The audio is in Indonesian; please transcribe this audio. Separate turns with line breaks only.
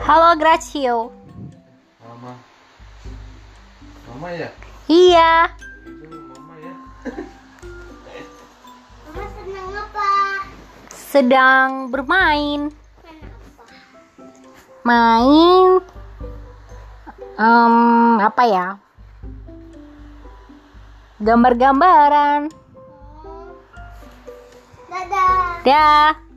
Halo Gracio.
Mama. Mama ya?
Iya.
Itu mama ya.
Mama senang apa?
Sedang bermain.
Kenapa?
Main. em, apa ya? Gambar-gambaran.
Oh. Dadah.
Dah.